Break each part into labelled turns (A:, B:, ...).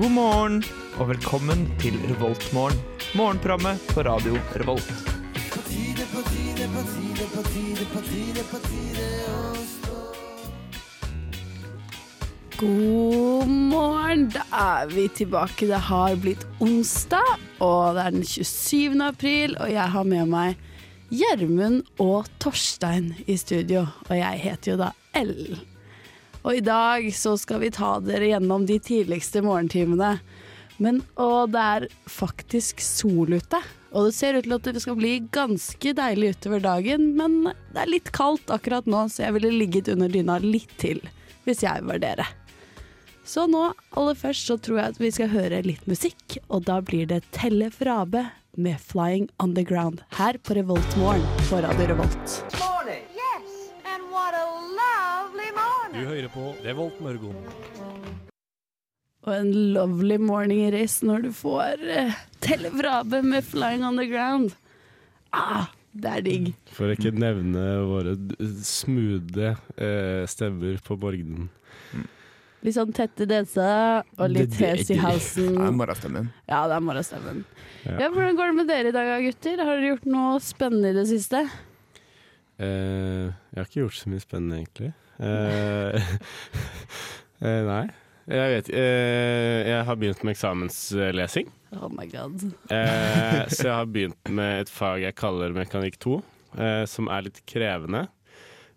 A: God morgen og velkommen til Revoltmorgen. Morgenprogrammet på radio Revolt.
B: God morgen, da er vi tilbake. Det har blitt onsdag, og det er den 27. april, og jeg har med meg Gjermund og Torstein i studio, og jeg heter jo da Ellen. Og i dag så skal vi ta dere gjennom de tidligste morgentimene. Men og det er faktisk sol ute, og det ser ut til at det skal bli ganske deilig utover dagen, men det er litt kaldt akkurat nå, så jeg ville ligget under dyna litt til, hvis jeg var dere. Så nå, aller først, så tror jeg at vi skal høre litt musikk, og da blir det Telle Frabe med 'Flying Underground' her på Revoltmorgen på Radio Revolt.
C: Yes, and what a lovely morning.
D: Du hører på Revolt Mørgon.
B: Og en lovely morning race når du får eh, Telle Frabe med 'Flying Underground'. Ah, det er digg.
E: For ikke nevne våre d- smoothie eh, stemmer på Borgden.
B: Litt sånn tette desa og litt hes i halsen.
F: morgenstemmen.
B: Ja, det er morgenstemmen.
E: Ja.
B: Ja, hvordan går det med dere i dag, gutter? Har dere gjort noe spennende i det siste?
E: Eh, jeg har ikke gjort så mye spennende, egentlig. Eh, eh, nei. Jeg vet eh, Jeg har begynt med eksamenslesing.
B: Oh my god.
E: Eh, så jeg har begynt med et fag jeg kaller Mekanikk 2, eh, som er litt krevende.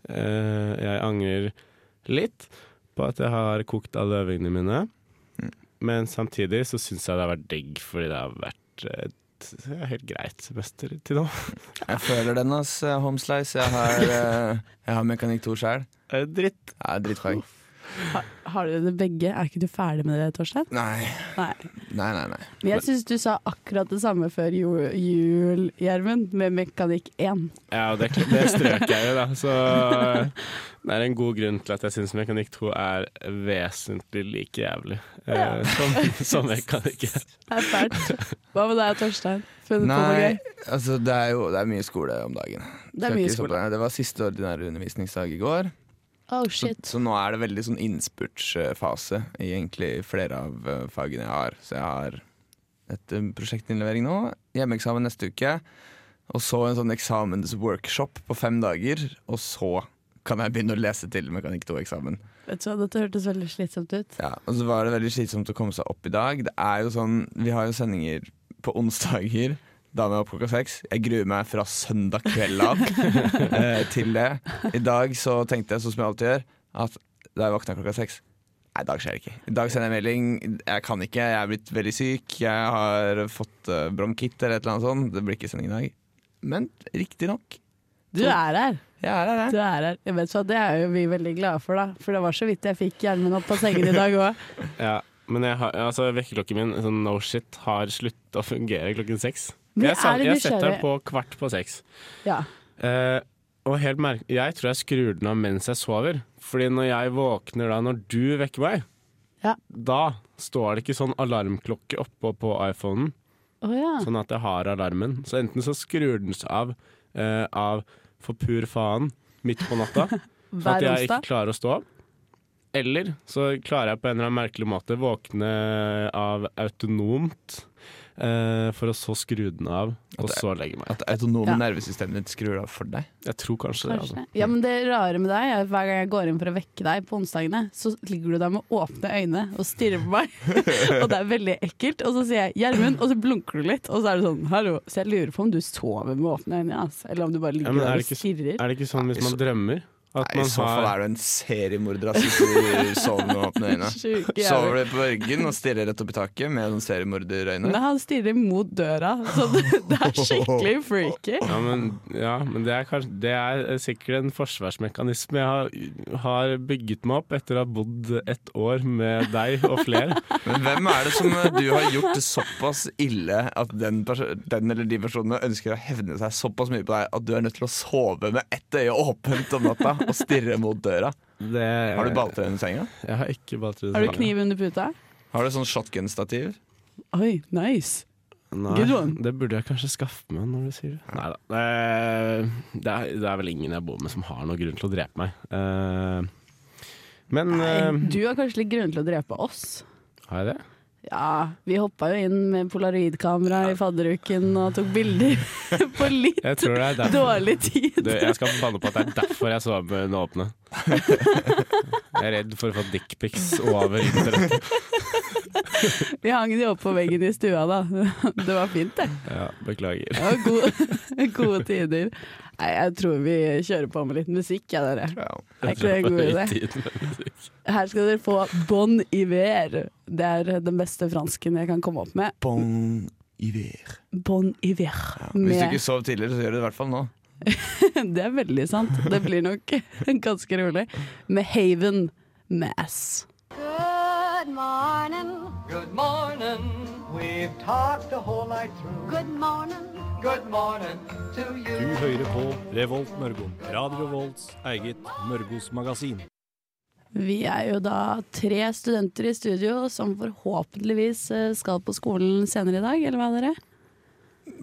E: Eh, jeg angrer litt på at jeg har kokt alle øvingene mine, men samtidig så syns jeg det har vært digg, fordi det har vært et helt greit semester til nå.
F: Jeg føler den, ass. Homeslice. Jeg har, eh, jeg har Mekanikk 2 sjøl.
E: Eh, dritt.
F: Ja, drittfag.
B: Har dere det begge? Er ikke du ferdig med det, Torstein?
F: Nei.
B: Nei.
F: Nei, nei, nei.
B: Men jeg syns du sa akkurat det samme før ju- jul, Gjermund, med Mekanikk 1.
E: Ja, og det, det strøk jeg jo, da. Så eh, det er en god grunn til at jeg syns Mekanikk 2 er vesentlig like jævlig eh,
B: Ja.
E: som, som Mekanikk 1.
B: Det er fælt. Hva med deg, Torstein? Funnet på noe
F: nei
B: gøy?
F: altså, det er jo det er mye skole om dagen.
B: Det er
F: Skal
B: mye
F: ikke stoppe
B: skole.
F: deg. Det var siste ordinære undervisningsdag i går.
B: Oh
F: Så,
B: shit.
F: så nå er det veldig sånn innspurtsfase i egentlig flere av eh, fagene jeg har. Så jeg har et eh, prosjektinnlevering nå, hjemmeeksamen neste uke, og så en sånn eksamensworkshop på fem dager, og så kan jeg begynne å lese til Mekanikk 2-eksamen.
B: Vet du hva, dette hørtes veldig slitsomt ut.
F: Ja, og så var det veldig slitsomt å komme seg opp i dag. Det er jo sånn, Vi har jo sendinger på onsdager. Da må jeg opp klokka seks. Jeg gruer meg fra søndag kveld av eh, til det. I dag så tenkte jeg, sånn som jeg alltid gjør, at da jeg våkna klokka seks Nei, i dag skjer det ikke. I dag sender jeg melding. Jeg kan ikke, jeg er blitt veldig syk. Jeg har fått eh, bronkitt eller et eller annet sånt. Det blir ikke sending i dag. Men riktignok,
B: Du er her.
F: jeg er her,
B: Du
F: jeg.
B: er her. Jeg vet hva, Det er jo vi veldig glade for, da. For det var så vidt jeg fikk Gjermund opp av sengen i dag òg.
E: Ja, men jeg har, altså, vekkerklokken min, sånn no shit, har sluttet å fungere klokken seks.
B: Men
E: Jeg, sa-
B: er det
E: jeg setter
B: nysgjerrig?
E: den på kvart på seks.
B: Ja.
E: Eh, og helt merk jeg tror jeg skrur den av mens jeg sover. Fordi når jeg våkner da, når du vekker meg,
B: Ja.
E: da står det ikke sånn alarmklokke oppå på iPhonen,
B: Å ja.
E: sånn at jeg har alarmen. Så enten så skrur den seg av, eh, av for pur faen midt på natta, sånn at
B: Hver
E: jeg ikke
B: onsdag.
E: klarer å stå opp. Eller så klarer jeg på en eller annen merkelig måte våkne av autonomt, eh, for å så skru den av, og så legge meg.
F: At det autonome
B: Ja.
F: nervesystemet ditt skrur av for deg.
E: Jeg tror
F: altså.
E: kanskje, det.
B: Kanskje. Ja, men det rare med deg er at hver gang jeg går inn for å vekke deg på onsdagene, så ligger du der med åpne øyne og stirrer på meg. og det er veldig ekkelt. Og så sier jeg 'Gjermund', og så blunker du litt. Og så er du sånn 'hallo'. Så jeg lurer på om du sover med åpne øyne, altså. eller om du bare
E: Ja,
B: ligger
E: men er
B: der og
E: det ikke-
B: stirrer.
E: Er det ikke sånn hvis
F: Nei,
E: man drømmer? At
F: Nei, I
E: man
F: så fall er
E: har
F: du en seriemorder ass, hvis du sover med åpne øyne.
B: Sjuke
F: Sover
B: jævel.
F: du på Børgen og stirrer rett opp i taket med noen seriemorderøyne?
B: Nei, han stirrer mot døra, så det, det er skikkelig freaky.
E: ja, men, ja, men det er, kanskje, det er sikkert en forsvarsmekanisme. Jeg har, har bygget meg opp etter å ha bodd et år med deg og flere.
F: Men hvem er det som eh, du har gjort det såpass ille at den, perso- den eller de personene ønsker å hevne seg såpass mye på deg at du er nødt til å sove med ett øye åpent om natta og stirre mot døra?
E: Det,
F: Har du balltre under senga?
E: Jeg har ikke balltre.
B: Har du kniv under puta?
F: Har du sånn shotgun-stativ?
B: Oi, nice. Good
E: Nei,
B: one.
E: det burde jeg kanskje skaffe meg når du sier det. Nei da. Eh, Det, er- det er vel ingen jeg bor med som har noen grunn til å drepe meg. Eh, Men
B: Nei,
E: eh,
B: du har kanskje litt grunn til å drepe oss.
E: har jeg det?
B: Ja, vi hoppa jo inn med polaroidkamera i fadderuken og tok bilder på litt
E: Jeg tror det er derfor
B: dårlig tid.
E: Du, jeg skal banne på at det er derfor jeg så med øynene åpne. Jeg er redd for å få dickpics over internett.
B: Vi hang de opp på veggen i stua da. Det var fint, det.
E: Ja, beklager.
B: Det var gode, gode tider. Nei, jeg tror vi kjører på med litt musikk, ja, dere.
F: Ja.
B: Er ikke det en god idé? Her skal dere få Bon Iver. Det er den beste fransken jeg kan komme opp med.
F: Bon Iver.
B: Bon Iver.
F: Hvis du
B: Med.
F: ikke sov tidligere, så gjør du det i hvert fall nå.
B: Det er veldig sant. Det blir nok ganske rolig. Med Haven med S.
C: Good morning.
D: Good morning. We've talked the whole night through.
C: Good morning.
D: Good morning to
G: Du
D: you.
G: hører på Revolt Mørgo. Radio Volts eget Mørgos magasin.
B: Vi er jo da tre studenter i studio som forhåpentligvis eh, skal på skolen senere i dag, eller hva dere?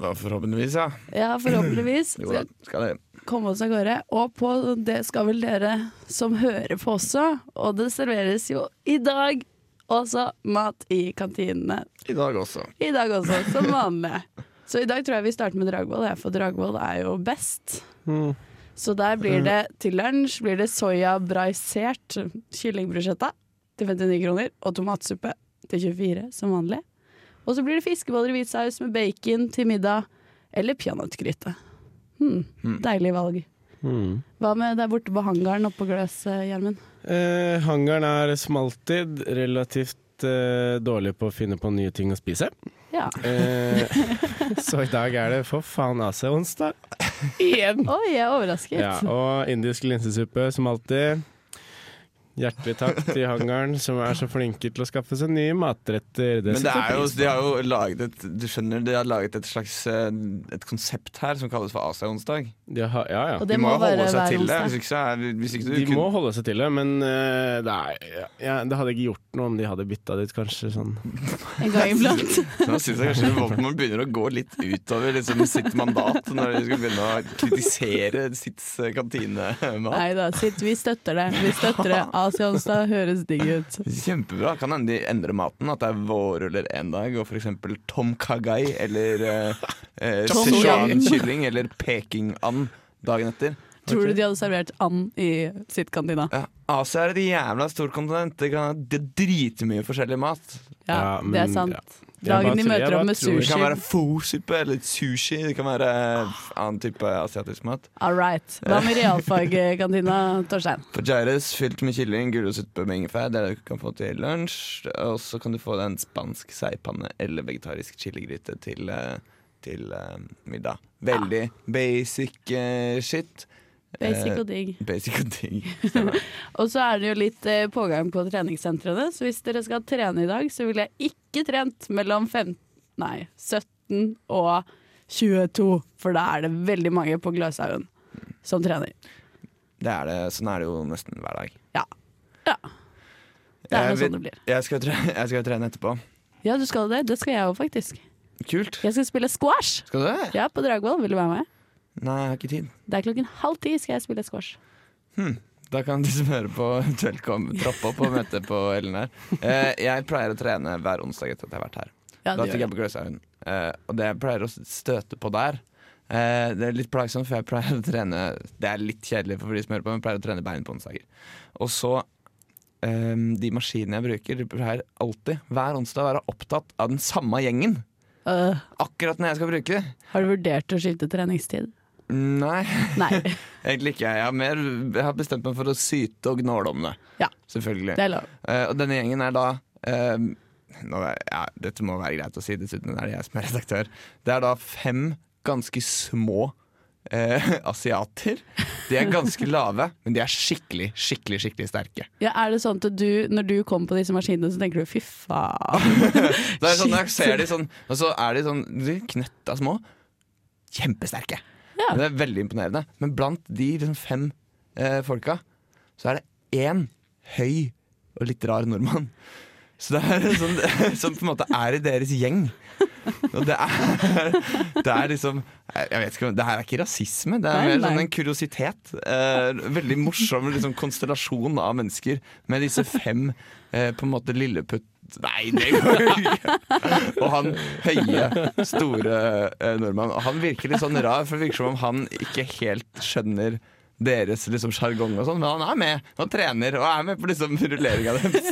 F: Ja, forhåpentligvis, ja.
B: Ja, forhåpentligvis.
F: Jo da, skal det.
B: komme oss av gårde. Og på det skal vel dere som hører på også. Og det serveres jo i dag også mat i kantinene.
F: I dag også.
B: I dag også, som vanlig. Så i dag tror jeg vi starter med Dragvoll, jeg, for Dragvoll er jo best.
F: Mm.
B: Så der blir det til lunsj blir det soyabraisert kyllingbrusjetta til 59 kroner, og tomatsuppe til 24 som vanlig. Og så blir det fiskeboller i hvit saus med bacon til middag, eller peanøttgryte. Hmm.
F: Mm.
B: Deilig valg.
E: Hmm.
B: Hva med der borte på hangaren oppå Gløs, eh, Gjermund?
E: Eh, hangaren er som alltid relativt eh, dårlig på å finne på nye ting å spise.
B: Ja.
E: Eh, så i dag er det for faen av seg onsdag.
B: Igjen! Oi, jeg er overrasket.
E: Ja, og indisk linsesuppe som alltid. Hjertelig takk til hangaren som er så flinke til å skaffe seg nye matretter.
F: Men det
E: setter
F: er jo,
E: pris på.
F: de har jo laget et Du skjønner, de har laget et slags eh, Et konsept her som kalles for Asia-onsdag.
E: De har, ja, ja.
B: Og
F: De
B: det
F: må
B: må,
F: jo holde
B: være
F: seg
B: hver
F: til det.
B: onsdag.
F: Hvis ikke, så er, hvis ikke du
E: De
F: kunne-
E: må holde seg til det, men eh, det, er, ja, det hadde ikke gjort noe om de hadde bytta det ut, kanskje. Sånn.
B: En gang iblant.
F: Nå syns jeg kanskje Voltmore begynner å gå litt utover liksom, sitt mandat når de skal begynne å kritisere sitt eh, kantinemat.
B: Nei da, sitt, vi støtter det. Vi støtter det. Asia onsdag høres digg ut.
F: Kjempebra. Kan hende de endrer maten. At det er vårruller en dag, og f.eks. tom kagai eller eh, eh,
B: Tom Yum.
F: Sichuan-kylling eller pekingand dagen etter.
B: Tror du de hadde servert and i sitt kantina?
F: Ja, Asia er et jævla stort kontinent. Det, kan, det er dritmye forskjellig mat.
B: Ja,
E: Ja, men-
B: det er sant.
E: Jeg bare
B: Dagen de
E: tror- jeg
B: møter
E: bare
B: opp med
E: tror-
F: Det
B: sushi.
F: kan være fo-suppe eller sushi. Det kan være annen type asiatisk mat.
B: All right. Hva med realfagkantina, Torstein?
F: Fajitas fylt med kylling, gulrotsuppe med ingefær. Det er det du kan få til lunsj. Og så kan du få deg en spansk seigpanne eller vegetarisk chiligryte til, eh, til eh, middag. Veldig basic eh, shit.
B: Basic
F: Eh,
B: og digg.
F: Basic og digg.
B: Og så er det jo litt eh, pågang på treningssentrene, så hvis dere skal trene i dag, så ville jeg ikke trent mellom fem, nei, 17 og 22, for da er det veldig mange på Gløshaugen som trener.
F: Det er det, sånn er det jo nesten hver dag.
B: Ja. ja. Det er
F: Jeg vet-
B: jo sånn det blir.
F: Jeg skal, tre jeg skal trene etterpå.
B: Ja, du skal det. Det skal jeg òg, faktisk.
F: Kult.
B: Jeg skal spille squash!
F: Skal du det?
B: Ja, på Dragvoll. Vil du være med?
F: Nei, jeg har ikke tid.
B: Det er klokken halv ti skal jeg spille squash.
F: Da kan de som hører på, eventuelt komme- troppe opp og møte på Ellen her. Eh, jeg pleier å trene hver onsdag etter at jeg har vært her.
B: Ja,
F: Da
B: det
F: fikk jeg
B: gjør jeg.
F: på Gløshaugen. Eh, og det jeg pleier å støte på der eh, Det er litt plagsomt, for jeg pleier å trene Det er litt kjedelig for de som hører på, men jeg pleier å trene bein på onsdager. Og så eh, De maskinene jeg bruker, de pleier alltid, hver onsdag, å være opptatt av den samme gjengen.
B: Øh,
F: Akkurat når jeg skal bruke det.
B: har du vurdert å skifte treningstid?
F: Nei,
B: Nei,
F: egentlig ikke. Jeg har, mer, jeg har bestemt meg for å syte og gnåle om det.
B: Ja.
F: Selvfølgelig.
B: det er lov.
F: Eh, og denne gjengen er da eh, nå er, ja, Dette må være greit å si, dessuten er det jeg som er redaktør. Det er da fem ganske små eh, asiater. De er ganske lave, men de er skikkelig, skikkelig skikkelig sterke.
B: Ja, er det sånn at du, når du kommer på disse maskinene, så tenker du fy faen?
F: Det er sånn, når jeg ser de sånn, og så er de sånn de er knøtta små. Kjempesterke.
B: Ja.
F: Det er veldig imponerende. Men blant de liksom, fem eh, folka, så er det én høy og litt rar nordmann. Så det er en sånn, som på en måte er i deres gjeng. Og det er, det er liksom jeg vet ikke, om- Det her er ikke rasisme, det er
B: Nei,
F: mer sånn
B: nei.
F: en kuriositet. Eh, veldig morsom liksom, konstellasjon av mennesker med disse fem eh, på en måte lilleputt Nei, det går jo ikke! Og han høye, store eh, nordmann. Og han virker litt sånn rar, for det virker som om han ikke helt skjønner deres liksom sjargong og sånn, men han er med og trener og er med på liksom rulleringa deres.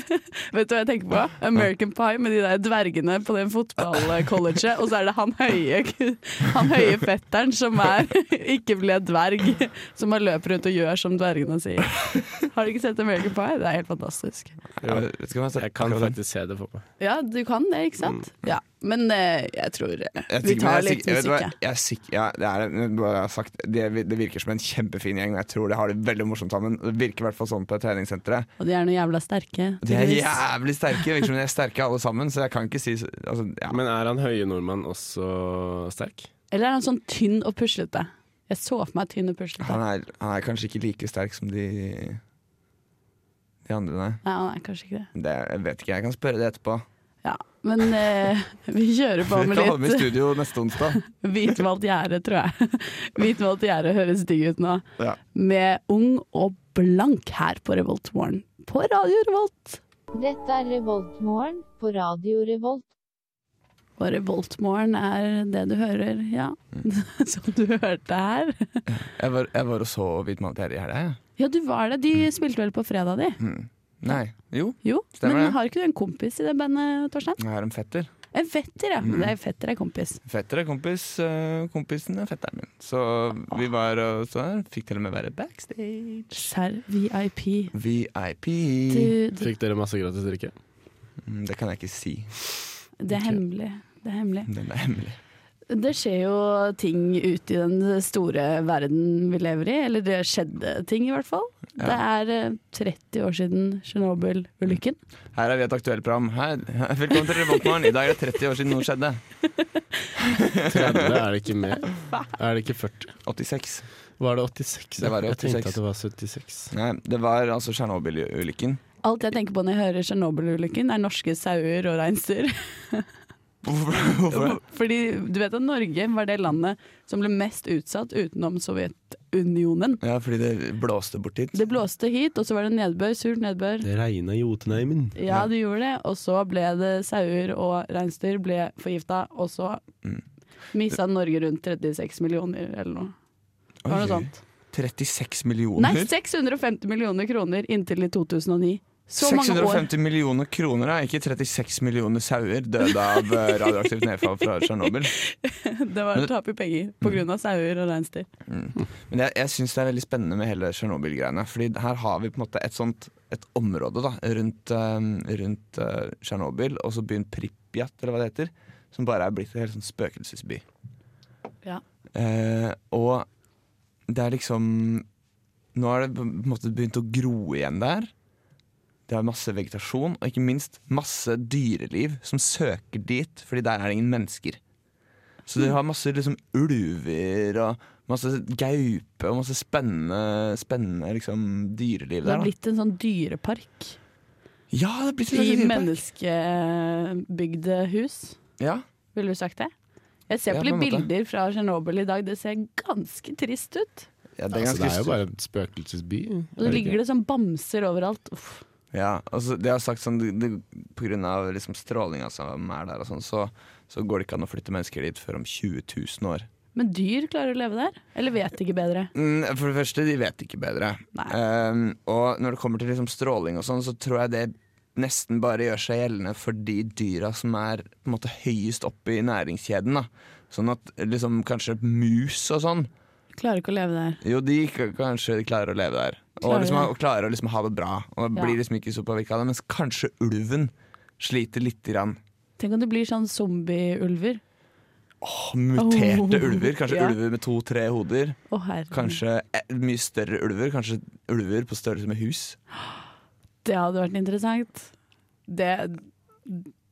B: Vet du hva jeg tenker på? American Pie med de der dvergene på den fotballcolleget, og så er det han høye, han høye fetteren som er ikke ble dverg, som bare løper rundt og gjør som dvergene sier. Har du ikke sett American Pie? Det er helt fantastisk.
F: Jeg vet ikke om jeg har sett
E: Jeg kan
F: akkurat den.
E: faktisk se det for meg.
B: Ja, du kan det, ikke sant? Ja, men eh, jeg tror eh,
F: Mm, Jeg er
B: vi
F: sikker-
B: tar
F: men jeg er
B: litt
F: sikker- vet du hva?
B: musikk, jeg.
F: Jeg er sikker, ja, det, er, men bare jeg har sagt, det, det virker som en kjempefin gjeng, og jeg tror de har det veldig morsomt sammen. Det virker i hvert fall sånn på treningssenteret.
B: Og de er noe jævla sterke.
F: De er
B: tydeligvis.
F: jævlig sterke, det virker som de er sterke alle sammen, så jeg kan ikke si så- altså, ja.
E: Men er han høye nordmann også sterk?
B: Eller er han sånn tynn og puslete? Jeg så for meg tynn og puslete.
F: han, er, han er kanskje ikke like sterk som de, de andre, nei.
B: Nei, han er kanskje ikke det.
F: Det jeg vet ikke, jeg kan spørre det etterpå.
B: Ja, men eh, vi kjører på
F: Vi
B: med
F: kan ha dem i
B: litt
F: studio neste onsdag.
B: hvitmalt gjerde, tror jeg. Hvitmalt gjerde høres digg ut nå.
F: Ja.
B: Med ung og blank her på Revolt Morgen. På Radio Revolt.
H: Dette er Revoltmorgen på Radio Revolt.
B: Og Revolt Morgen er det du hører, ja.
F: Mm.
B: Som du hørte her.
F: Jeg var, jeg var og så Hvit mann til Herre i helga, jeg.
B: Ja, du var det. De spilte vel på fredag, de?
F: Mm. Nei. Jo,
B: Jo,
F: Stemmer
B: men
F: det.
B: har ikke du en kompis i det bandet, Torstein?
F: jeg har en fetter.
B: En fetter,
F: Mm.
B: ja. Det er fetter er kompis.
F: Fetter er kompis, øh, kompisen er fetteren min. Så vi var og så der. Fikk til og med være backstage.
B: Serr VIP.
F: VIP.
B: Du, du,
E: Fikk dere masse gratis drikke?
F: Mm, Det kan jeg ikke si.
B: det er hemmelig. Det er hemmelig.
F: Den er hemmelig.
B: Det skjer jo ting ute i den store verden vi lever i, eller det skjedde ting i hvert fall. Det er eh, 30 år siden Tsjernobyl-ulykken.
F: Her er vi et aktuelt program. Hei, velkommen til Revoltmorgen. I dag er det 30 år siden noe skjedde.
E: 30 er det ikke mer. Er det ikke 40?
F: 86.
E: Var det 86?
F: Det var
E: Jeg tenkte
F: 86.
E: at det var 76.
F: Nei, det var altså Tsjernobyl-ulykken.
B: Alt jeg tenker på når jeg hører Tsjernobyl-ulykken, er norske sauer og reinsdyr.
F: Hvorfor? Hvorfor?
B: Fordi du vet at Norge var det landet som ble mest utsatt utenom Sovjetunionen.
F: Ja, fordi det blåste bort hit.
B: Det blåste hit, og så var det nedbør, surt nedbør.
E: Det regna i Jotunheimen.
B: Ja, det gjorde det. Og så ble det sauer og reinsdyr ble forgifta, og så
F: Mm.
B: mista Norge rundt 36 millioner eller noe. Det var
F: Oi,
B: noe sånt.
F: 36
B: Nei,
F: millioner?
B: 650 millioner kroner inntil i 2009. Så mange år.
F: 650 millioner kroner, da. Ikke 36 millioner sauer døde av øh, radioaktivt nedfall fra Tsjernobyl.
B: Det var tap i penger
F: Mm.
B: pga. sauer og reinsdyr.
F: Men jeg, jeg syns det er veldig spennende med hele Tsjernobyl-greiene. Fordi her har vi på en måte et sånt et område da, rundt, eh, rundt eh, Tsjernobyl, og så byen Pripjat, eller hva det heter, som bare er blitt en helt sånn spøkelsesby.
B: Ja.
F: Eh, og det er liksom Nå har det på en måte begynt å gro igjen der. Det er masse vegetasjon, og ikke minst masse dyreliv som søker dit, fordi der er det ingen mennesker. Så de har masse liksom, ulver og masse gaupe og masse spennende, spennende liksom, dyreliv
B: Det
F: der.
B: har
F: Da.
B: blitt en sånn dyrepark
F: ja, det har blitt en
B: i
F: slags dyrepark.
B: menneskebygde hus.
F: Ja.
B: Ville du sagt det? Jeg ser
F: Ja,
B: på
F: på en
B: litt
F: måte.
B: bilder fra Tsjernobyl i dag, det ser ganske trist ut.
F: Ja, det
E: Det
F: er
E: er, altså,
F: ganske
E: det er jo
F: stygt.
E: bare en spøkelsesby.
B: Og så ligger det sånn bamser overalt. Uff.
F: Ja, altså, de har sagt sånn det, det, På grunn av liksom, strålinga som er der, og sånn, så, så går det ikke an å flytte mennesker dit før om 20 000 år.
B: Men dyr klarer å leve der? Eller vet ikke bedre?
F: Mm, For det første, de vet ikke bedre.
B: Nei.
F: Ehm, og når det kommer til liksom stråling og sånn, så tror jeg det nesten bare gjør seg gjeldende for de dyra som er på en måte høyest oppe i næringskjeden. Da. Sånn at liksom kanskje mus og sånn,
B: Klarer ikke å leve der.
F: jo de k- kanskje klarer å leve der. Og
B: Klarer
F: liksom,
B: det.
F: ha- og klarer å liksom ha det bra. Og
B: Ja.
F: blir liksom ikke så påvirka av det. Mens kanskje ulven sliter lite grann.
B: Tenk om det blir sånn zombieulver.
F: Åh, Muterte
B: Oh.
F: ulver. Kanskje
B: Ja.
F: ulver med to-tre hoder.
B: Å herre.
F: Kanskje eh, mye større ulver. Kanskje ulver på størrelse med hus.
B: Det hadde vært interessant. Det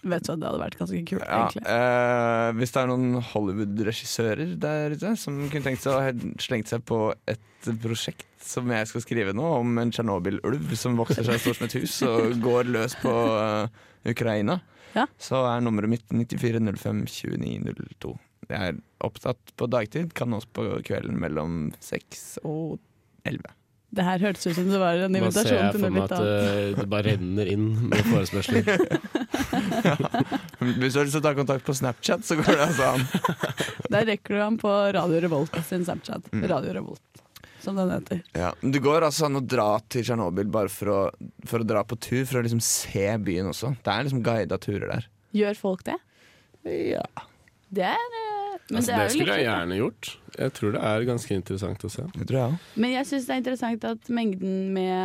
B: Vet du hva, det hadde vært ganske kult,
F: Ja,
B: egentlig.
F: eh, hvis det er noen Hollywood-regissører der ute som kunne tenkt seg å he- slengt seg på et prosjekt som jeg skal skrive nå, om en Tsjernobyl-ulv som vokser seg stor som et hus og går løs på eh, Ukraina,
B: Ja.
F: så er nummeret mitt 94052902. Jeg er opptatt på dagtid, kan også på kvelden mellom seks og elleve.
B: Det her hørtes ut som det var en
E: Nå ser
B: invitasjon
E: jeg
B: til
E: for
B: noe
E: meg
B: litt
E: at
B: annet.
E: eh, det bare renner inn med forespørsler.
F: Hvis du har lyst til å ta kontakt på Snapchat, så går det altså an.
B: Der rekker du ham på Radio Revolt sin Snapchat.
E: Mm.
B: Radio Revolt, som den heter.
F: Ja, men Det går altså an å dra til Tsjernobyl bare for å, for å dra på tur, for å liksom se byen også. Det er liksom guida turer der.
B: Gjør folk det?
F: Ja.
B: Det er eh, men
E: Altså,
B: det, er
E: det
B: jo litt
E: skulle jeg
B: kult, da.
E: gjerne gjort. Jeg tror det er ganske interessant å se.
F: Det tror jeg òg.
B: Men jeg syns det er interessant at mengden med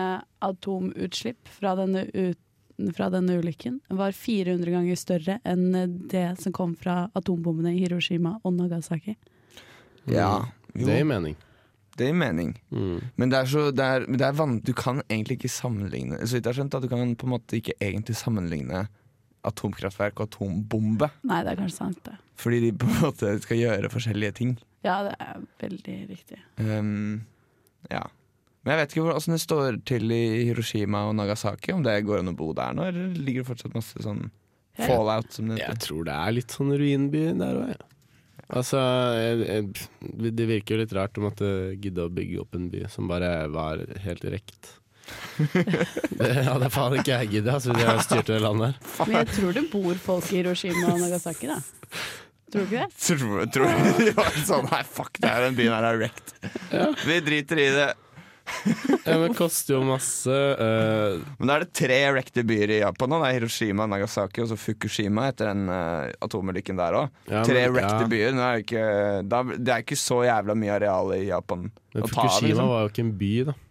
B: atomutslipp fra denne, ut- fra denne ulykken var 400 ganger større enn det som kom fra atombommene i Hiroshima og Nagasaki.
F: Ja. Jo,
E: Det gir mening.
F: det gir mening.
E: Mm.
F: Men det er så det er, men det er van, du kan egentlig ikke sammenligne Så vidt jeg har skjønt, at du kan på en måte ikke egentlig sammenligne atomkraftverk og atombombe.
B: Nei, det er kanskje sant, det.
F: Fordi de på en måte skal gjøre forskjellige ting.
B: Ja, det er veldig riktig.
F: Ehm, ja. Men jeg vet ikke åssen det står til i Hiroshima og Nagasaki. Om det går an å bo der nå, eller ligger det fortsatt masse sånn
B: Ja.
F: fallout? Som det
E: Jeg
F: heter.
E: tror det er litt sånn ruinby der òg, jeg. Altså, jeg, jeg, det virker jo litt rart om at det gidde å bygge opp en by som bare var helt rekt. Det hadde faen ikke jeg giddet, altså, hvis jeg styrte det landet her.
B: Men jeg tror det bor folk i Hiroshima og Nagasaki, da. Tror du ikke det?
F: Tror, tror du de var sånn Nei, fuck det her, den byen her er wrecked. Vi driter i det.
E: Ja, men det koster jo masse. eh,
F: Men da er det tre wreckede byer i Japan nå. Det er Hiroshima, Nagasaki og så Fukushima etter den eh, atomulykken der òg.
E: Ja,
F: tre
E: men-
F: wreckede
E: ja.
F: byer. Nå er det, ikke, da, det er ikke så jævla mye areal i Japan
E: men
F: å ta av.
E: Fukushima
F: Liksom.
E: var jo ikke en by, da.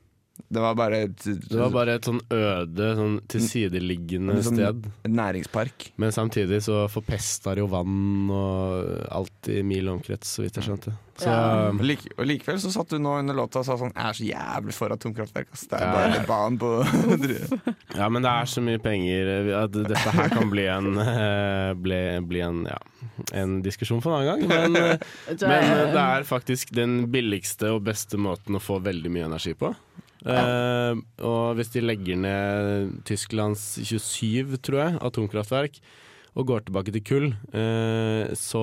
F: Det var bare et,
E: Det var bare et sånn øde, sånn tilsideliggende
F: Sånn-
E: sted.
F: et næringspark.
E: Men samtidig så forpesta det jo vann og alt i mil omkrets, så vidt jeg skjønte. Så um,
B: Ja.
F: Og, like, og likevel så satt du nå under låta og sa sånn Jeg er så jævlig for atomkraftverk. Ass. Det er
E: Ja.
F: bare banen på
E: Ja, men det er så mye penger eh, at dette her kan bli en, eh, bli, bli en, ja, en diskusjon for en annen gang. Men, eh,
B: Vet du hva,
E: men eh,
B: jeg-
E: det er faktisk den billigste og beste måten å få veldig mye energi på. Eh, og hvis de legger ned Tysklands 27, tror jeg, atomkraftverk, og går tilbake til kull, eh, så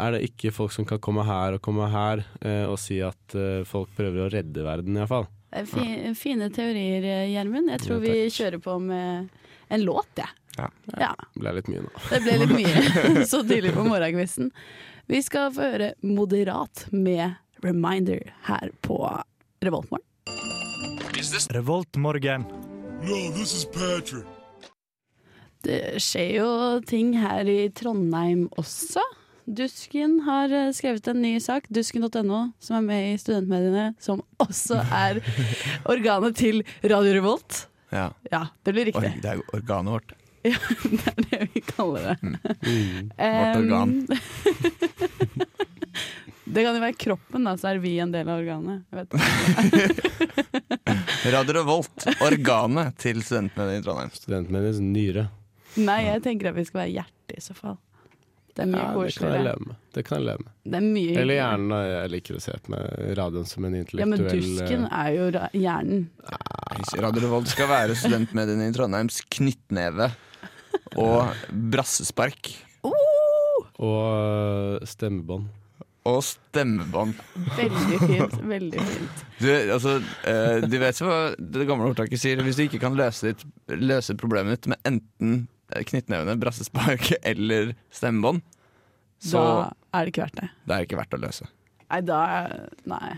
E: er det ikke folk som kan komme her og komme her eh, og si at eh, folk prøver å redde verden, iallfall.
B: Det er fi- Fine teorier, eh, Gjermund. Jeg tror
E: Ja,
B: vi
E: takk.
B: kjører på med en låt, jeg.
F: Ja.
B: ja.
E: Det ble litt mye nå.
B: Det ble litt mye så tidlig på morgenkvisten. Vi skal få høre Moderat med Reminder her på Revoltmorgen.
A: Revoltmorgen.
B: Det skjer jo ting her i Trondheim også. Dusken har eh, skrevet en ny sak, dusken.no, som er med i studentmediene, som også er organet til Radio Revolt.
F: ja.
B: Ja, det blir
F: Or,
B: riktig.
F: Det er organet vårt.
B: Det er det vi kaller det.
F: Mm, Vårt organ.
B: det kan jo være kroppen, da, så er vi en del av organet. Jeg vet ikke.
F: Radio Revolt. Organet til studentene i Trondheim.
E: Studentmediets nyre.
B: Nei, jeg tenker at vi skal være hjertet i så fall. Det er mye
E: Ja, det kan jeg
B: koseligere.
E: leve med. Det kan jeg leve med.
B: Det er mye
E: Eller
B: hyggeligere.
E: hjernen. da. Jeg liker å se på meg radioen som en
B: Ja, men
E: intellektuell eh,
B: dusken er jo ra- hjernen.
F: Radio Revolt skal være studentmediene i Trondheims knyttneve og brassespark.
B: Oh,
E: eh, Og eh, stemmebånd.
F: Og stemmebånd.
B: veldig fint. Veldig fint.
F: Du, altså, eh, du vet hva det gamle ordtaket sier. Hvis du ikke kan løse, ditt, løse problemet ditt med enten eh, knyttnevene, brassespark eller stemmebånd, så
B: Da er det ikke verdt det.
F: det er ikke verdt å løse.
B: Nei, da Nei.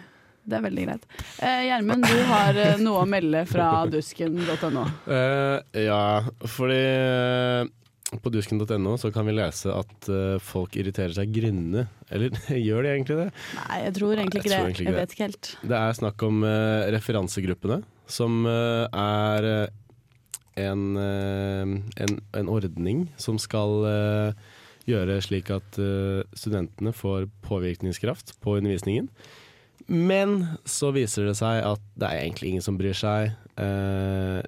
B: Det er veldig greit. Eh, Gjermund, du har eh, noe å melde fra dusken.no.
E: Eh, ja, fordi eh, på dusken.no så kan vi lese at eh, folk irriterer seg grynne. Eller gjør de egentlig det?
B: Nei, jeg tror egentlig ikke det.
E: Nei, jeg tror egentlig ikke
B: Jeg vet ikke helt.
E: Det er snakk om eh, referansegruppene, som eh, er eh, en, eh, en, en ordning som skal eh, gjøre slik at eh, studentene får påvirkningskraft på undervisningen. Men så viser det seg at det er egentlig ingen som bryr seg. Eh,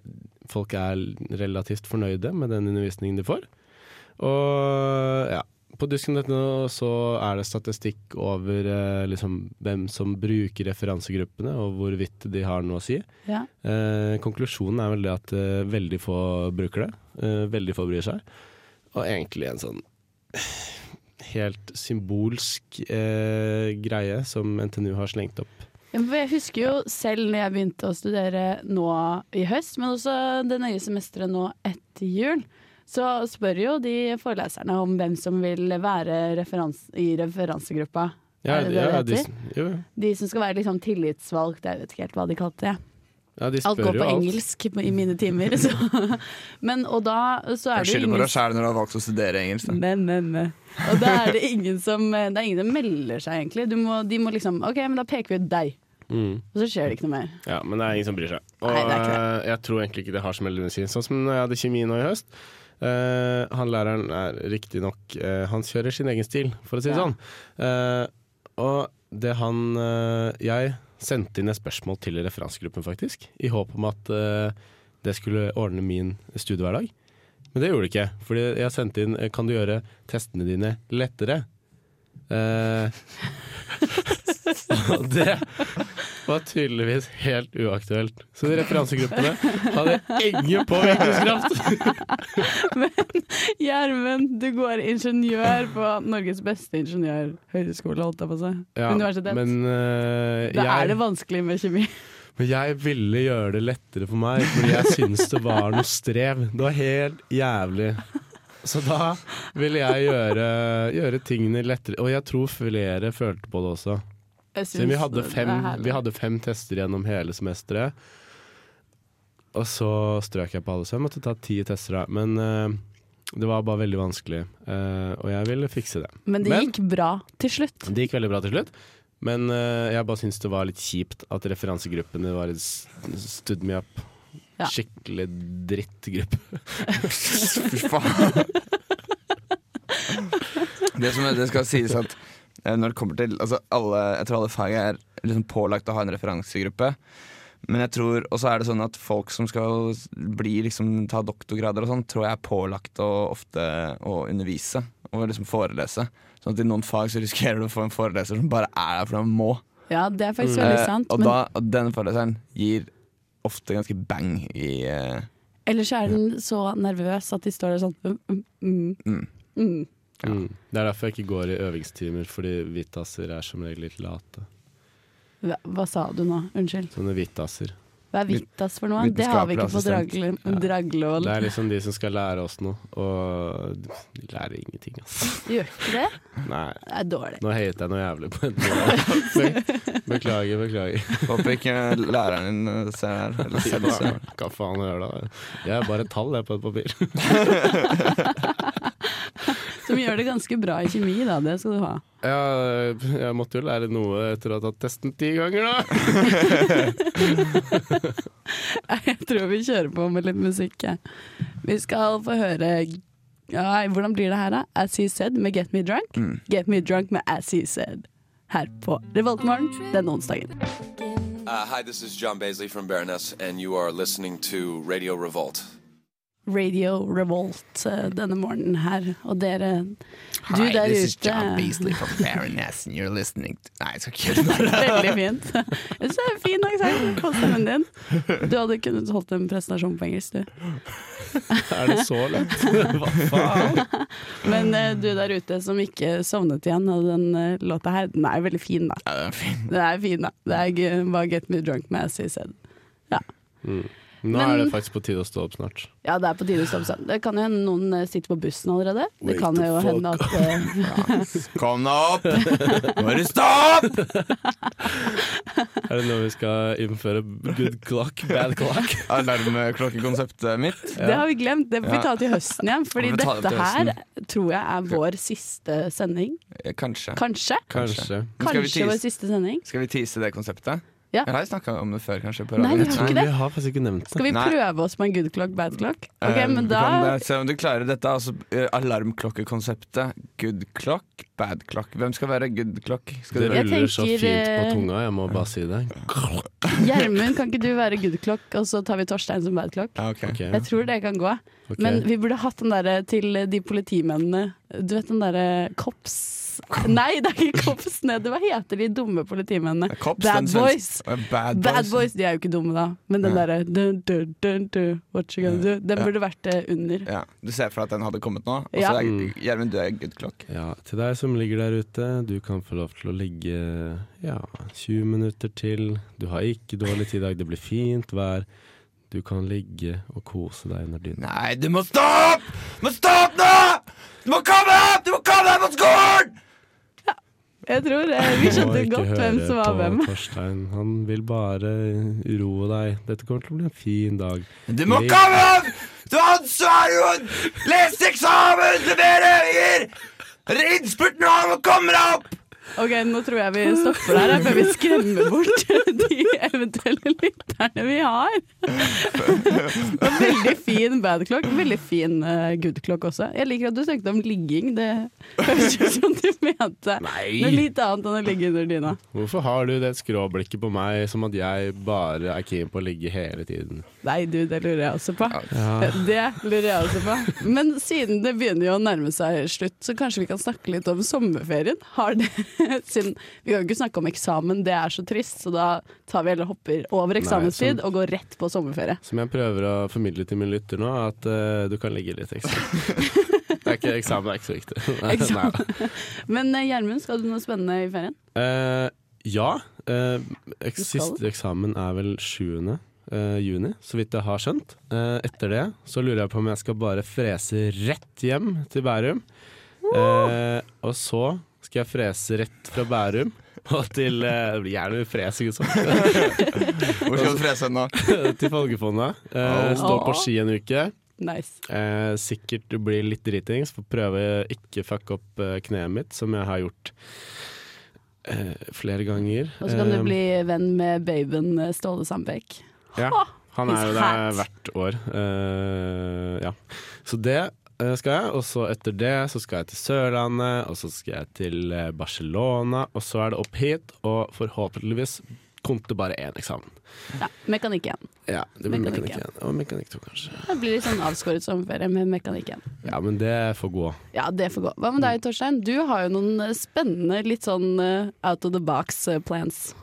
E: folk er relativt fornøyde med den undervisningen de får. Og ja, på dusken.no så er det statistikk over eh, liksom, hvem som bruker referansegruppene, og hvorvidt de har noe å si.
B: Ja.
E: Eh, konklusjonen er vel det at eh, veldig få bruker det. eh, veldig få bryr seg. Og egentlig en sånn helt symbolsk eh, greie som NTNU har slengt opp.
B: Ja, for Jeg husker jo selv når jeg begynte å studere nå i høst, men også det nøye semesteret nå etter jul, så spør jo de foreleserne om hvem som vil være referans i referansegruppa.
E: Ja,
B: Er det det
E: ja,
B: det
E: de,
B: heter?
E: jo, ja.
B: De som skal være liksom tillitsvalgt, jeg vet ikke helt hva de kalte det.
E: ja, de
B: Alt
E: spør
B: går
E: jo
B: på engelsk i mine timer. Så. Men, og da så er
F: Jeg
B: det jo
F: skylder på
B: ingen
F: deg sjæl når du har valgt å studere engelsk. Da.
B: Men, men, men. Og da er det ingen som, det er ingen som melder seg, egentlig. Du må, de må liksom OK, men da peker vi ut deg.
E: Mm.
B: Og så skjer det ikke noe mer.
E: Ja, men det er ingen som bryr seg. Og
B: Nei, det er ikke
E: eh, jeg tror egentlig ikke det har så veldig mye å si. Sånn som når jeg hadde kjemi nå i høst. eh, han læreren er riktignok uh, Han kjører sin egen stil, for å si det
B: Ja.
E: sånn. Eh, og det han eh, Jeg sendte inn et spørsmål til referansegruppen, faktisk. I håp om at eh, det skulle ordne min studiehverdag. Men det gjorde det ikke. Fordi jeg sendte inn eh, 'Kan du gjøre testene dine lettere?' Eh, og det var tydeligvis helt uaktuelt. Så de referansegruppene hadde ingen påvirkningskraft!
B: Gjermund, du går ingeniør på Norges beste ingeniørhøgskole, holdt jeg på å si.
E: Ja,
B: Universitet.
E: Men, eh,
B: da er
E: jeg,
B: det vanskelig med kjemi.
E: men jeg ville gjøre det lettere for meg, fordi jeg syns det var noe strev. Det var helt jævlig. Så da ville jeg gjøre, gjøre tingene lettere. Og jeg tror flere følte på det også.
B: Jeg
E: Siden
B: syns
E: vi hadde,
B: det er
E: fem,
B: herlig.
E: vi hadde fem tester gjennom hele semesteret. Og så strøk jeg på alle, så jeg måtte ta ti tester da. Men eh, det var bare veldig vanskelig, eh, og jeg ville fikse det.
B: Men det
E: Men-
B: gikk bra til slutt.
E: Det gikk veldig bra til slutt, men eh, jeg bare syns det var litt kjipt at referansegruppene var et s- stood me up.
B: Ja.
E: Skikkelig drittgruppe.
F: Fy faen. Det som er- det skal sies at eh, når det kommer til altså alle, Jeg tror alle fag er liksom pålagt å ha en referansegruppe. Men jeg tror også er det sånn at folk som skal bli, liksom, ta doktorgrader og sånn, tror jeg er pålagt å ofte å undervise og liksom forelese. Sånn at i noen fag så risikerer du å få en foreleser som bare er der fordi han må.
B: Ja, det er faktisk
F: Eh,
E: Mm.
B: veldig sant.
F: og,
B: Men
F: da, og denne foreleseren gir ofte ganske bang i eh,
B: ellers er den så nervøs at de står der sånn mm, mm, mm.
F: Mm.
B: Mm.
E: Mm. Det er derfor jeg ikke går i øvingstimer, fordi hvitaser er som regel litt late.
B: Hva, hva sa du nå? Unnskyld.
E: Sånne hvitaser.
B: Hva er Vitas for noe? Det har vi ikke på
F: vitenskapelig
B: Dragle- Draglevoll.
E: Det er liksom de som skal lære oss noe, og de lærer ingenting, altså.
B: Gjør ikke det?
E: Nei.
B: Det er dårlig.
E: Nå heiet jeg noe jævlig på henne. Beklager, beklager.
F: Håper ikke læreren din eh, ser her. Eller selv ser her.
E: Hva faen gjør det? Jeg er bare et tall jeg, på et papir.
B: Som gjør det ganske bra i kjemi, da. Det skal du ha.
E: Jeg, jeg måtte jo lære noe etter å ha tatt testen ti ganger, da.
B: Jeg tror vi kjører på med litt musikk. jeg. Vi skal få høre Ai, Hvordan blir det her, da? As He Said med Get Me Drunk. Get Me Drunk med As He Said. Her på Revoltmorgen denne onsdagen.
I: Uh, hi, this is John Baisley from Baroness, and you are listening to Radio Revolt.
B: Radio Revolt eh, denne morgenen her. Og dere, du der ute
F: from Baroness, and you're listening to Nei, jeg skal ikke gjøre det.
B: Veldig fint. Jeg synes det er en fin aksent på stemmen din. Du hadde kunnet holdt en presentasjon på engelsk, du.
E: Er det så lett? Hva faen?
B: Men eh, du der ute som ikke sovnet igjen av den eh, låta her, den er veldig fin, da.
F: Ja, det er fint.
B: Den er fin, da. Det er gøy. bare Get Me Drunk med As He Said.
E: Nå er det faktisk på tide å stå opp snart.
B: Ja, det er på tide å stoppe seg. Det kan jo hende noen eh, sitter på bussen allerede. Det
E: Wake
B: kan
E: the
B: jo
E: fuck
B: hende at eh,
F: Kom deg opp! Nå er det stopp!
E: Er det nå vi skal innføre good clock, bad clock?
F: Alarmklokkekonseptet mitt.
B: Det har vi glemt. Det får vi
F: Ja.
B: ta til høsten igjen. Fordi
F: Vi får ta det
B: dette
F: til
B: her
F: høsten.
B: tror jeg er vår siste sending.
F: Eh, Kanskje.
B: Kanskje.
E: Kanskje.
F: Men skal vi
B: Kanskje vår
F: tease?
B: siste sending.
F: Skal vi tease det konseptet?
B: Ja.
F: Jeg har snakka om det før, kanskje. På
B: Nei, vi
F: radioen.
B: har ikke
E: Vi
B: det.
E: har faktisk ikke nevnt det.
B: Skal vi
F: Nei.
B: prøve oss med en good clock, bad clock? Ok,
F: Eh,
B: men
F: du kan
B: da
F: det. Se om du klarer dette. Altså, eh, alarmklokkekonseptet. Good clock, bad clock. Hvem skal være good clock? Skal
E: Det
F: du...
B: Jeg
E: ruller så
B: tenker,
E: fint på
B: eh,
E: tunga, jeg må bare si det.
B: Gjermund, kan ikke du være good clock, og så tar vi Torstein som bad clock?
F: Ja, Ah, ok.
E: Ok,
B: Jeg tror det kan gå.
E: ok.
B: Men vi burde hatt den derre til de politimennene. Du vet den derre cops Nei, det er ikke Kopsnede. Hva heter de dumme politimennene?
F: Cops,
B: Bad
F: den svenske-
B: Boys.
F: Eh, Bad,
B: Bad Boys, de er jo ikke dumme, da. Men den
F: Ja.
B: derre dun, dun, dun, dun, What you gonna do? Den
F: Ja.
B: burde vært eh, under.
F: Ja, Du ser for deg at den hadde kommet nå? Og så
B: Ja. Mm.
F: er Gjermund, du er good clock.
E: Ja, til deg som ligger der ute, du kan få lov til å ligge ja, 20 minutter til. Du har ikke dårlig tid i dag, det blir fint vær. Du kan ligge og kose deg under dyna.
F: Nei, du må stå opp! Du må stå opp nå! Du må komme opp! Du må komme deg på skolen!
B: Jeg tror eh, vi skjønte
E: Og ikke
B: godt hvem
E: høre
B: som var
E: på
B: hvem.
E: Torstein. Han vil bare uroe deg. Dette kommer til å bli en fin dag.
F: Du må
E: Ligg-
F: komme opp! Du har ansvar, Jon! Lese eksamen! Levere øyer! Innspurten nå! Du må komme deg opp!
B: Ok, nå tror jeg vi stopper der jeg, før vi skremmer bort de eventuelle lytterne vi har. Det var Veldig fin bad clock, veldig fin eh, good clock også. Jeg liker at du snakket om ligging, det høres ut som du mente noe
E: Nei!
B: litt annet enn å ligge under dyna.
E: Hvorfor har du det skråblikket på meg som at jeg bare er keen på å ligge hele tiden?
B: Nei, du, det lurer jeg også på.
E: Ja.
B: Det lurer jeg også på. Men siden det begynner jo å nærme seg slutt, så kanskje vi kan snakke litt om sommerferien. Har det, siden vi kan jo ikke snakke om eksamen, det er så trist, så da tar vi heller hopper over eksamenstid og går rett på sommerferie.
E: Som jeg prøver å formidle til min lytter nå, at eh, du kan ligge litt ekstra. Det er ikke, eksamen er ikke så viktig. Nei,
B: Eksamen.
E: nei.
B: Men eh, Gjermund, skal du noe spennende i ferien?
E: Eh, ja. eh, eks
B: skal.
E: siste eksamen er vel 7. eh, juni, så vidt jeg har skjønt. Eh, etter det så lurer jeg på om jeg skal bare frese rett hjem til Bærum. Eh, og så skal jeg frese rett fra Bærum og til eh, Det blir gjerne fresing, altså.
F: Hvor skal du frese nå?
E: til Folgefondet. Eh, stå på ski en uke.
B: Nice.
E: Eh, sikkert blir litt dritings, for prøve å ikke fucke opp eh, kneet mitt, som jeg har gjort eh, flere ganger.
B: Og så kan du
E: Eh,
B: bli venn med baben eh, Ståle Sandbekk.
E: Ja,
B: Ha!
E: han er jo
B: He's
E: der
B: hot.
E: hvert år. Eh, ja. Så det eh, skal jeg, og så etter det så skal jeg til Sørlandet, og så skal jeg til eh, Barcelona, og så er det opp hit, og forhåpentligvis kom det bare én eksamen.
B: Ja, mekanikk igjen.
E: Ja, det blir
B: Mekanikk
E: mekanikk
B: igjen.
E: igjen. Og mekanikk to, kanskje.
B: Det blir litt sånn avskåret sommerferie med mekanikk igjen.
E: Ja, men det får gå.
B: Ja, det får gå. Hva med deg, Torstein? Du har jo noen eh, spennende, litt sånn eh, out of the box eh, plans.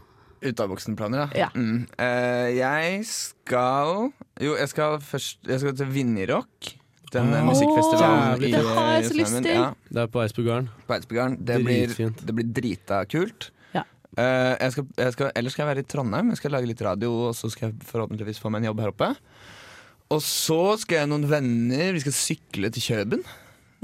F: Ut av boksen-planer,
B: Ja.
F: Mm. Eh, jeg skal Jo, jeg skal først Jeg skal til Vinjerock. Den
E: Åh,
F: eh, musikkfestivalen
E: jævlig
F: i
E: fett.
B: Det har jeg så lyst
F: Drammen.
B: til.
F: Ja,
E: Det er på Eidsberggarden.
F: på Eidsberggarden. Det, blir-
E: Dritfint.
F: det blir drita kult.
B: Ja.
F: Eh, jeg skal, jeg skal, ellers skal jeg være i Trondheim. Jeg skal lage litt radio, og så skal jeg forhåpentligvis få meg en jobb her oppe. Og så skal jeg og noen venner Vi skal sykle til Kjøben.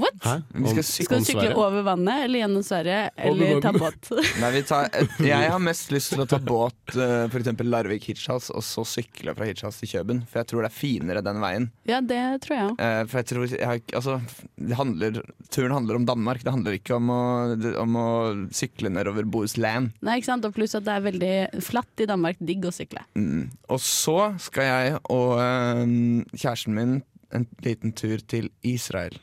B: What?
E: Hæ?
F: Vi skal
E: Om-
F: sykle-
B: Skal du sykle
E: Sverige?
B: over vannet, eller gjennom Sverige, eller
E: Over
B: ta
E: vannet.
B: båt?
F: Nei, vi tar, jeg har mest lyst til å ta båt eh, For f.eks. Larvik-Hirtshals, og så sykle fra Hirtshals til Kjøben. For jeg tror det er finere den veien.
B: Ja, det tror jeg òg.
F: Eh, for jeg tror jeg har, ikke- altså, det handler, Turen handler om Danmark, det handler ikke om å, det- om å sykle nedover Bohuslän.
B: Nei, ikke sant? Og pluss at det er veldig flatt i Danmark. Digg å sykle.
F: Mm. Og så skal jeg og eh, kjæresten min en liten tur til Israel.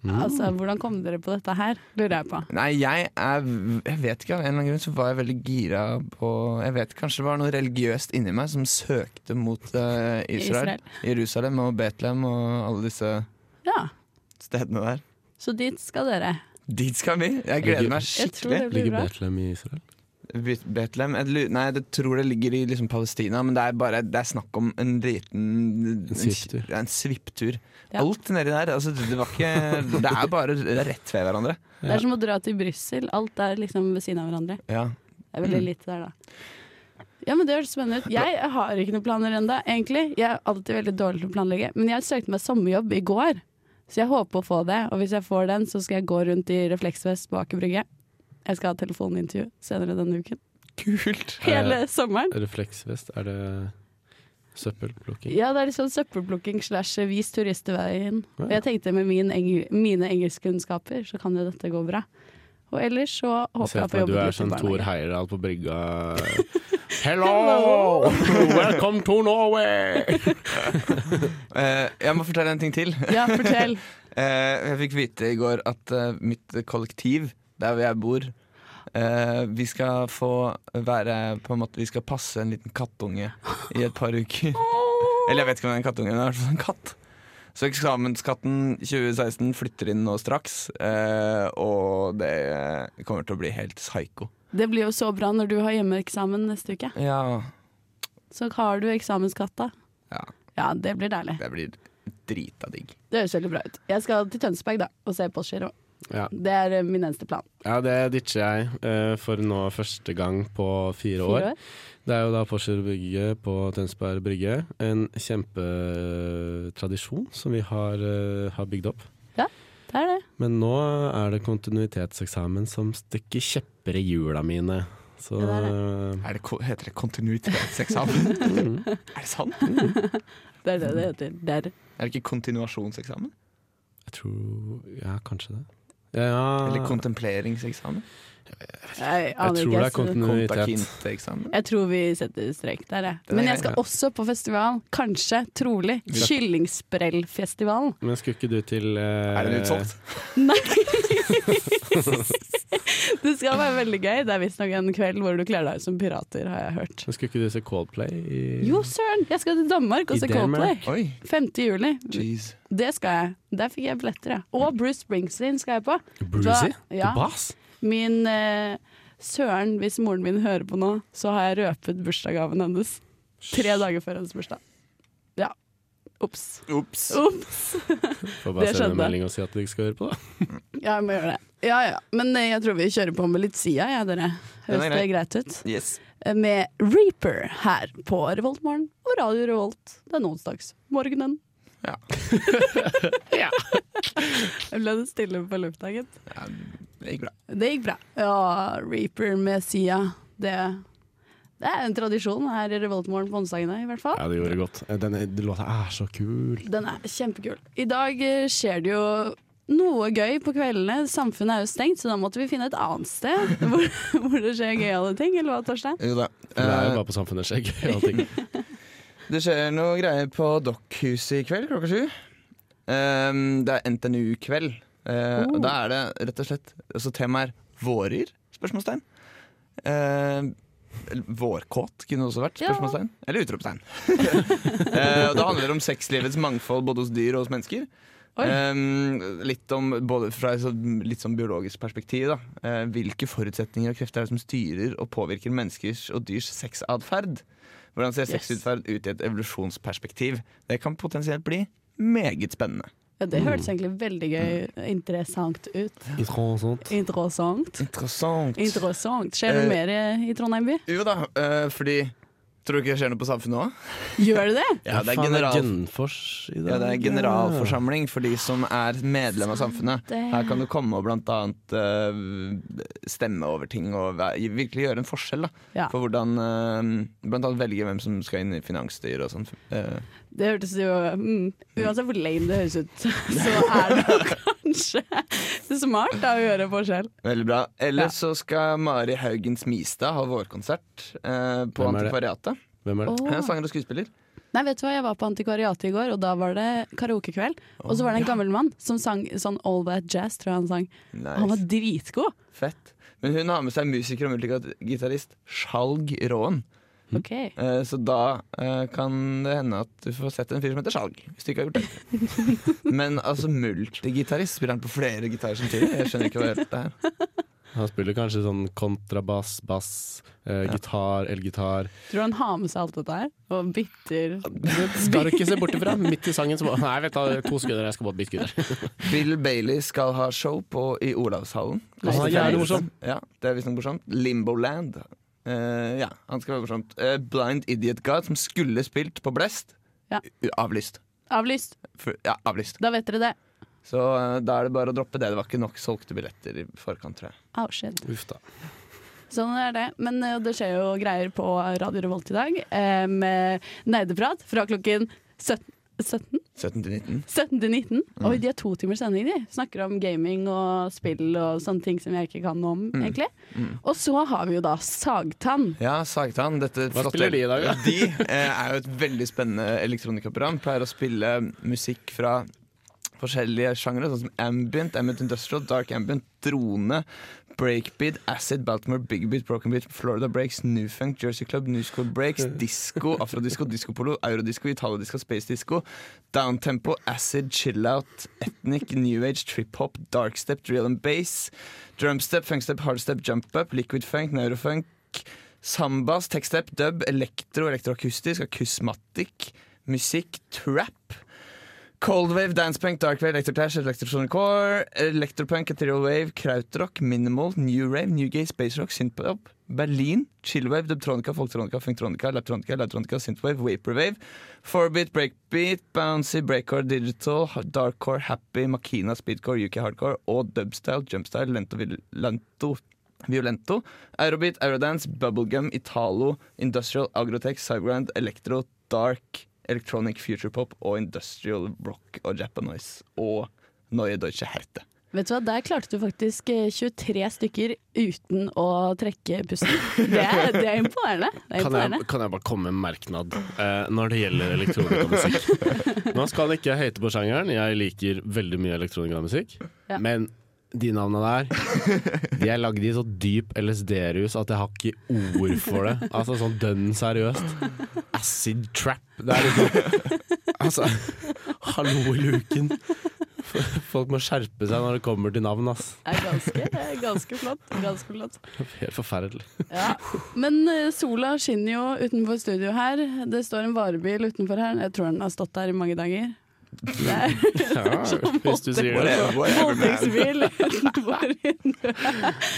E: Mm.
B: Altså, Hvordan kom dere på dette her, lurer jeg på.
F: Nei, jeg er Jeg vet ikke, av en eller annen grunn så var jeg veldig gira på Jeg vet kanskje det var noe religiøst inni meg som søkte mot eh, Israel,
B: Israel.
F: Jerusalem og Betlehem og alle disse
B: Ja,
F: stedene der.
B: Så dit skal dere.
F: Dit skal vi! Jeg gleder meg
B: Jeg tror det
F: skikkelig.
B: blir
E: Ligger
B: bra.
E: Betlehem i Israel?
F: Bet- Betlehem jeg, lu- Nei, jeg tror det ligger i liksom Palestina, men det er bare Det er snakk om en liten En
E: svipptur.
F: Ja, en svipptur.
B: Ja.
F: Alt nedi der. Altså, det var ikke Det er bare det er rett ved hverandre.
B: Det er som å dra til Brussel. Alt er liksom ved siden av hverandre.
F: Ja.
B: Det er
E: Mm.
B: veldig lite der, da. Ja, men Det høres spennende ut. Jeg har ikke noen planer ennå, egentlig. Jeg er alltid veldig dårlig til å planlegge. Men jeg søkte meg sommerjobb i går, så jeg håper å få det. Og hvis jeg får den, så skal jeg gå rundt i refleksvest bak i brygge. Jeg skal ha telefonintervju senere denne uken.
F: Kult!
B: Hele sommeren.
E: Refleksvest, er det søppelplukking?
B: Ja, det er litt sånn søppelplukking slash vis turister veien. Og jeg tenkte med min engel, mine engelskkunnskaper, så kan jo dette gå bra. Og ellers så
E: Jeg
B: håper
E: ser
B: jeg å
E: for
B: få
E: meg du
B: jobbet
E: er
B: litt i
E: sånn Thor
B: barnehage.
E: Heyerdahl på brygga. Hello! Welcome to Norway!
F: Eh, jeg må fortelle en ting til.
B: Ja, fortell.
F: Eh, jeg fikk vite i går at eh, mitt kollektiv, der hvor jeg bor eh, Vi skal få være på en måte Vi skal passe en liten kattunge i et par uker. Eller jeg vet ikke om det er en kattunge, men det er i hvert fall en katt. Så eksamensskatten 2016 flytter inn nå straks, eh, og det kommer til å bli helt psyko.
B: Det blir jo så bra når du har hjemmeeksamen neste uke.
F: Ja,
B: Så har du eksamenskatta.
F: Ja.
B: ja, det blir deilig.
F: det blir drita digg.
B: Det høres veldig bra ut. Jeg skal til Tønsberg da, og se Postgiro.
E: Ja.
B: Det er eh, min eneste plan.
E: Ja, det ditcher jeg eh, for nå første gang på fire år.
B: Fire år.
E: Det er jo da Porscher Brygge på Tønsberg Brygge. En kjempetradisjon som vi har, eh, har bygd opp.
B: Det er det.
E: Men nå er det kontinuitetseksamen som stikker kjepper i hjula mine. Så eh,
B: Ja, det
F: Er det, ko- heter det kontinuitetseksamen? er det sant?
B: Det er det det heter. Der.
F: Er det ikke kontinuasjonseksamen?
E: jeg tror Ja, kanskje det. Ja,
F: Eller
E: jeg
F: kontempleringseksamen?
B: Jeg,
E: tror
B: aner ikke,
E: det er
B: så-
E: kontinuitet.
F: Kontakinteeksamen?
B: jeg tror vi setter strek der, jeg.
F: Den
B: Men
F: er
B: jeg skal også på festival. Kanskje, trolig, Kyllingsprellfestivalen.
E: Men skulle ikke du til eh,
F: Er den utsolgt?
B: Nei! det skal være veldig gøy. Det er visstnok en kveld hvor du kler deg ut som pirater, har jeg hørt.
E: Men skulle ikke du se Coldplay i
B: Jo søren, jeg skal til Danmark og
E: I
B: se Coldplay.
E: Danmark?
F: Oi,
B: 5. juli.
F: jeez.
B: Det skal jeg. Der fikk jeg billetter, ja. Og Bruce Springsteen skal jeg på. Så-
E: Brucey?
B: ja.
E: Bass?
B: Min eh, søren, hvis moren min hører på nå, så har jeg røpet bursdagsgaven hennes. Tre dager før hennes bursdag. Ja. Ops.
F: Ops.
B: Ops.
E: Får bare
B: Det
E: sende
B: skjedde.
E: en melding og si at du ikke skal høre på, da.
B: Ja, jeg må gjøre det. Ja ja. Men eh, jeg tror vi kjører på med litt Sia, jeg, dere.
F: Den
B: Høres
F: er
B: det greit ut?
F: Yes.
B: Eh, Med Reaper her på Revoltmorgen og Radio Revolt den onsdagsmorgenen.
F: Ja.
B: ja. Jeg ble det stille på lufta, gitt.
F: Ja, det gikk bra.
B: Det gikk bra. Ja, Reaper med Sia. Det, det er en tradisjon her i Revoltmorgen på onsdagene, i hvert fall.
E: Ja, det gjorde godt. Eh, Den, den låta er så kul.
B: Den er kjempekul. I dag eh, skjer det jo noe gøy på kveldene. Samfunnet er jo stengt, så da måtte vi finne et annet sted hvor, hvor det skjer gøyale ting, eller hva, Torstein?
F: Jo da.
E: Det er jo
F: Eh,
E: bare på Samfunnet skjegg. og ting.
F: Det skjer noe greier på Dokkhuset i kveld klokka sju. Ehm, det er NTNU-kveld. Eh,
B: Oh.
F: Og da er det rett og slett Så temaet er vårer? Spørsmålstegn. Ehm, eller vårkåt kunne det også vært.
B: Ja.
F: Spørsmålstegn. Eller utropstegn. Eh, og det handler om sexlivets mangfold både hos dyr og hos mennesker.
B: Oi.
F: Ehm, litt om, både fra et sånn- litt sånn biologisk perspektiv. Da. Eh, hvilke forutsetninger og krefter er det som styrer og påvirker menneskers og dyrs sexatferd? Hvordan ser
B: Yes.
F: sexutferd ut i et evolusjonsperspektiv? Det kan potensielt bli meget spennende.
B: Ja, det hørtes egentlig veldig gøy, interessant ut.
E: Interessant.
B: Interessant.
F: Interessant.
B: Interessant. Skjer det
F: Eh.
B: mer i- i Trondheim by?
F: jo da, eh, fordi Tror du ikke det skjer noe på samfunnet òg?
B: Gjør det det?
F: Ja, det er,
E: Faen,
F: general,
E: Gunnfors i dag.
F: ja, det er generalforsamling for de som er medlem av samfunnet.
B: det.
F: Her kan du komme og blant annet eh, stemme over ting og væ- virkelig gjøre en forskjell. Da,
B: Ja.
F: For hvordan eh, Blant annet velge hvem som skal inn i finansstyret og sånn. Eh,
B: Det hørtes jo mm, Uansett hvor lame det høres ut, så er det jo kanskje smart da, å gjøre forskjell.
F: veldig bra. Eller
B: Ja.
F: så skal Mari Haugen Smistad ha vårkonsert eh, på
E: Hvem er det?
F: Antikvariatet.
E: Hvem er det?
F: Hun er sanger og skuespiller.
B: Nei, vet du hva, jeg var på Antikvariatet i går, og da var det karaokekveld. Og så var det en gammel mann som sang sånn All That Jazz, tror jeg han sang. Han var
F: Nice.
B: dritgod.
F: Fett. Men hun har med seg musiker og multigitarist Skjalg Råen.
B: Ok.
F: Eh, Så da eh, kan det hende at du får sett en fyr som heter Skjalg. Hvis du ikke har gjort det. Men altså multigitarist. Spiller han på flere gitarer samtidig? Jeg skjønner ikke hva det er.
E: Han spiller kanskje sånn kontrabass, bass, eh, gitar, elgitar.
B: Tror du han har med seg alt dette her? Og bytter
E: Det skal du ikke se bort ifra. Midt i sangen så bare Nei, vent da, to skudder, jeg skal bare bytte skudder.
F: Bill Bailey skal ha show på, i Olavshallen.
E: Han er jævlig morsom.
F: Ja, det er visstnok morsomt. Limboland. Eh, ja, han skal være morsomt. Eh, Blind Idiot God, som skulle spilt på Blest.
B: Ja.
F: U- Avlyst.
B: Avlyst.
F: For, ja, avlyst.
B: Da vet dere det.
F: Så eh, da er det bare å droppe det. Det var ikke nok solgte billetter i forkant, tror jeg.
B: Au, shit.
E: Uff da.
B: Sånn er det. Men eh, det skjer jo greier på Radio Revolt i dag eh, med nerdeprat fra klokken 17. 17?
F: 17 til 19.
B: 17 til 19. Oi, de har to timers sending, de. Snakker om gaming og spill og sånne ting som jeg ikke kan noe om, egentlig. Og så har vi jo da Sagtann.
F: Ja, Sagtann. Dette
E: Hva
F: flotte-
E: spiller de i dag, da?
F: De eh, er jo et veldig spennende elektronikaprogram. Pleier å spille musikk fra forskjellige sjangre, sånn som ambient, ambient industrial, dark ambient, drone, breakbeat, acid, Baltimore, big beat, broken beat, Florida breaks, new funk, Jersey club, new school breaks,
E: Mm.
F: disco, afrodisco, discopolo, eurodisco, italiodisco, space disco, downtempo, acid, chill out, ethnic, new age, trip hop, dark step, drill and bass, drumstep, funkstep, hardstep, jump up, liquid funk, neurofunk, Sambas, tekstep, dub, elektro, elektroakustisk, akusmatikk, musikk, trap. Coldwave, dancepunk, darkwave, electroclash, electrosonic core, electropunk, ethereal wave, krautrock, minimal, new rave, newgay, space rock, synthpop, Berlin, chillwave, dubtronica, folktronica, funktronica, laptronica, labtronica, synthwave, vaporwave, forbit, breakbeat, bouncy, breakcore, digital, darkcore, happy, makina, speedcore, UK hardcore og dubstyle, jumpstyle, lento, vil- lento Violento, Eurobeat, Eurodance, Bubblegum, Italo, Industrial, Agrotech, Cybergrind, Electro, Dark, Electronic Futurepop og Industrial Rock og Japanese og Neue Deutsche Herte.
B: Vet du hva, Der klarte du faktisk eh, 23 stykker uten å trekke pusten. Det, er- det er imponerende. Det er
E: Kan jeg,
B: imponerende.
E: kan jeg bare komme med en merknad eh, når det gjelder elektronikamusikk? Nå skal ikke jeg hate på sjangeren, jeg liker veldig mye elektronikamusikk.
B: Ja.
E: Men de navna der, de er lagd i så dyp LSD-rus at jeg har ikke ord for det. Altså sånn dønn seriøst. Acid trap. Det er liksom Altså, hallo i luken. Folk må skjerpe seg når det kommer til navn, ass.
B: Det er ganske, det er ganske flott. Ganske flott.
E: Helt forferdelig.
B: Ja. Men eh, sola skinner jo utenfor studio her. Det står en varebil utenfor her. Jeg tror den har stått der i mange dager. Det er
E: Ja, hvis du sier det.
F: Whatever, whatever, man.
B: voldtektsbil utenfor vinduet.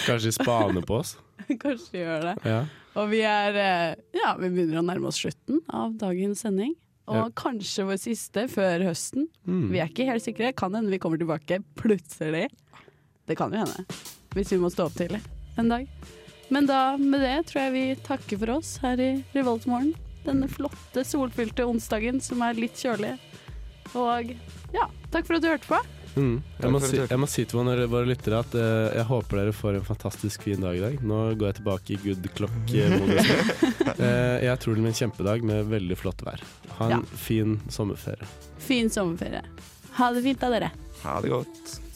E: Kanskje de spaner på oss.
B: Kanskje de gjør det.
E: Ja.
B: Og vi er eh, Ja, vi begynner å nærme oss slutten av dagens sending. Og
E: Ja.
B: kanskje vår siste før høsten.
E: Mm.
B: Vi er ikke helt sikre. Kan hende vi kommer tilbake plutselig. Det kan jo hende. Hvis vi må stå opp tidlig en dag. Men da med det tror jeg vi takker for oss her i Revoltmorgen. Denne flotte, solfylte onsdagen som er litt kjølig. Og ja, takk for at du hørte på.
E: Mm. Jeg, må
F: for
E: si,
F: turen.
E: jeg må si til våre, våre lyttere at eh, jeg håper dere får en fantastisk fin dag i dag. Nå går jeg tilbake i good clock-modus. Eh, jeg tror det blir en kjempedag med veldig flott vær. Ha en fin sommerferie.
B: Fin sommerferie. Ha det fint da, dere.
F: Ha det godt.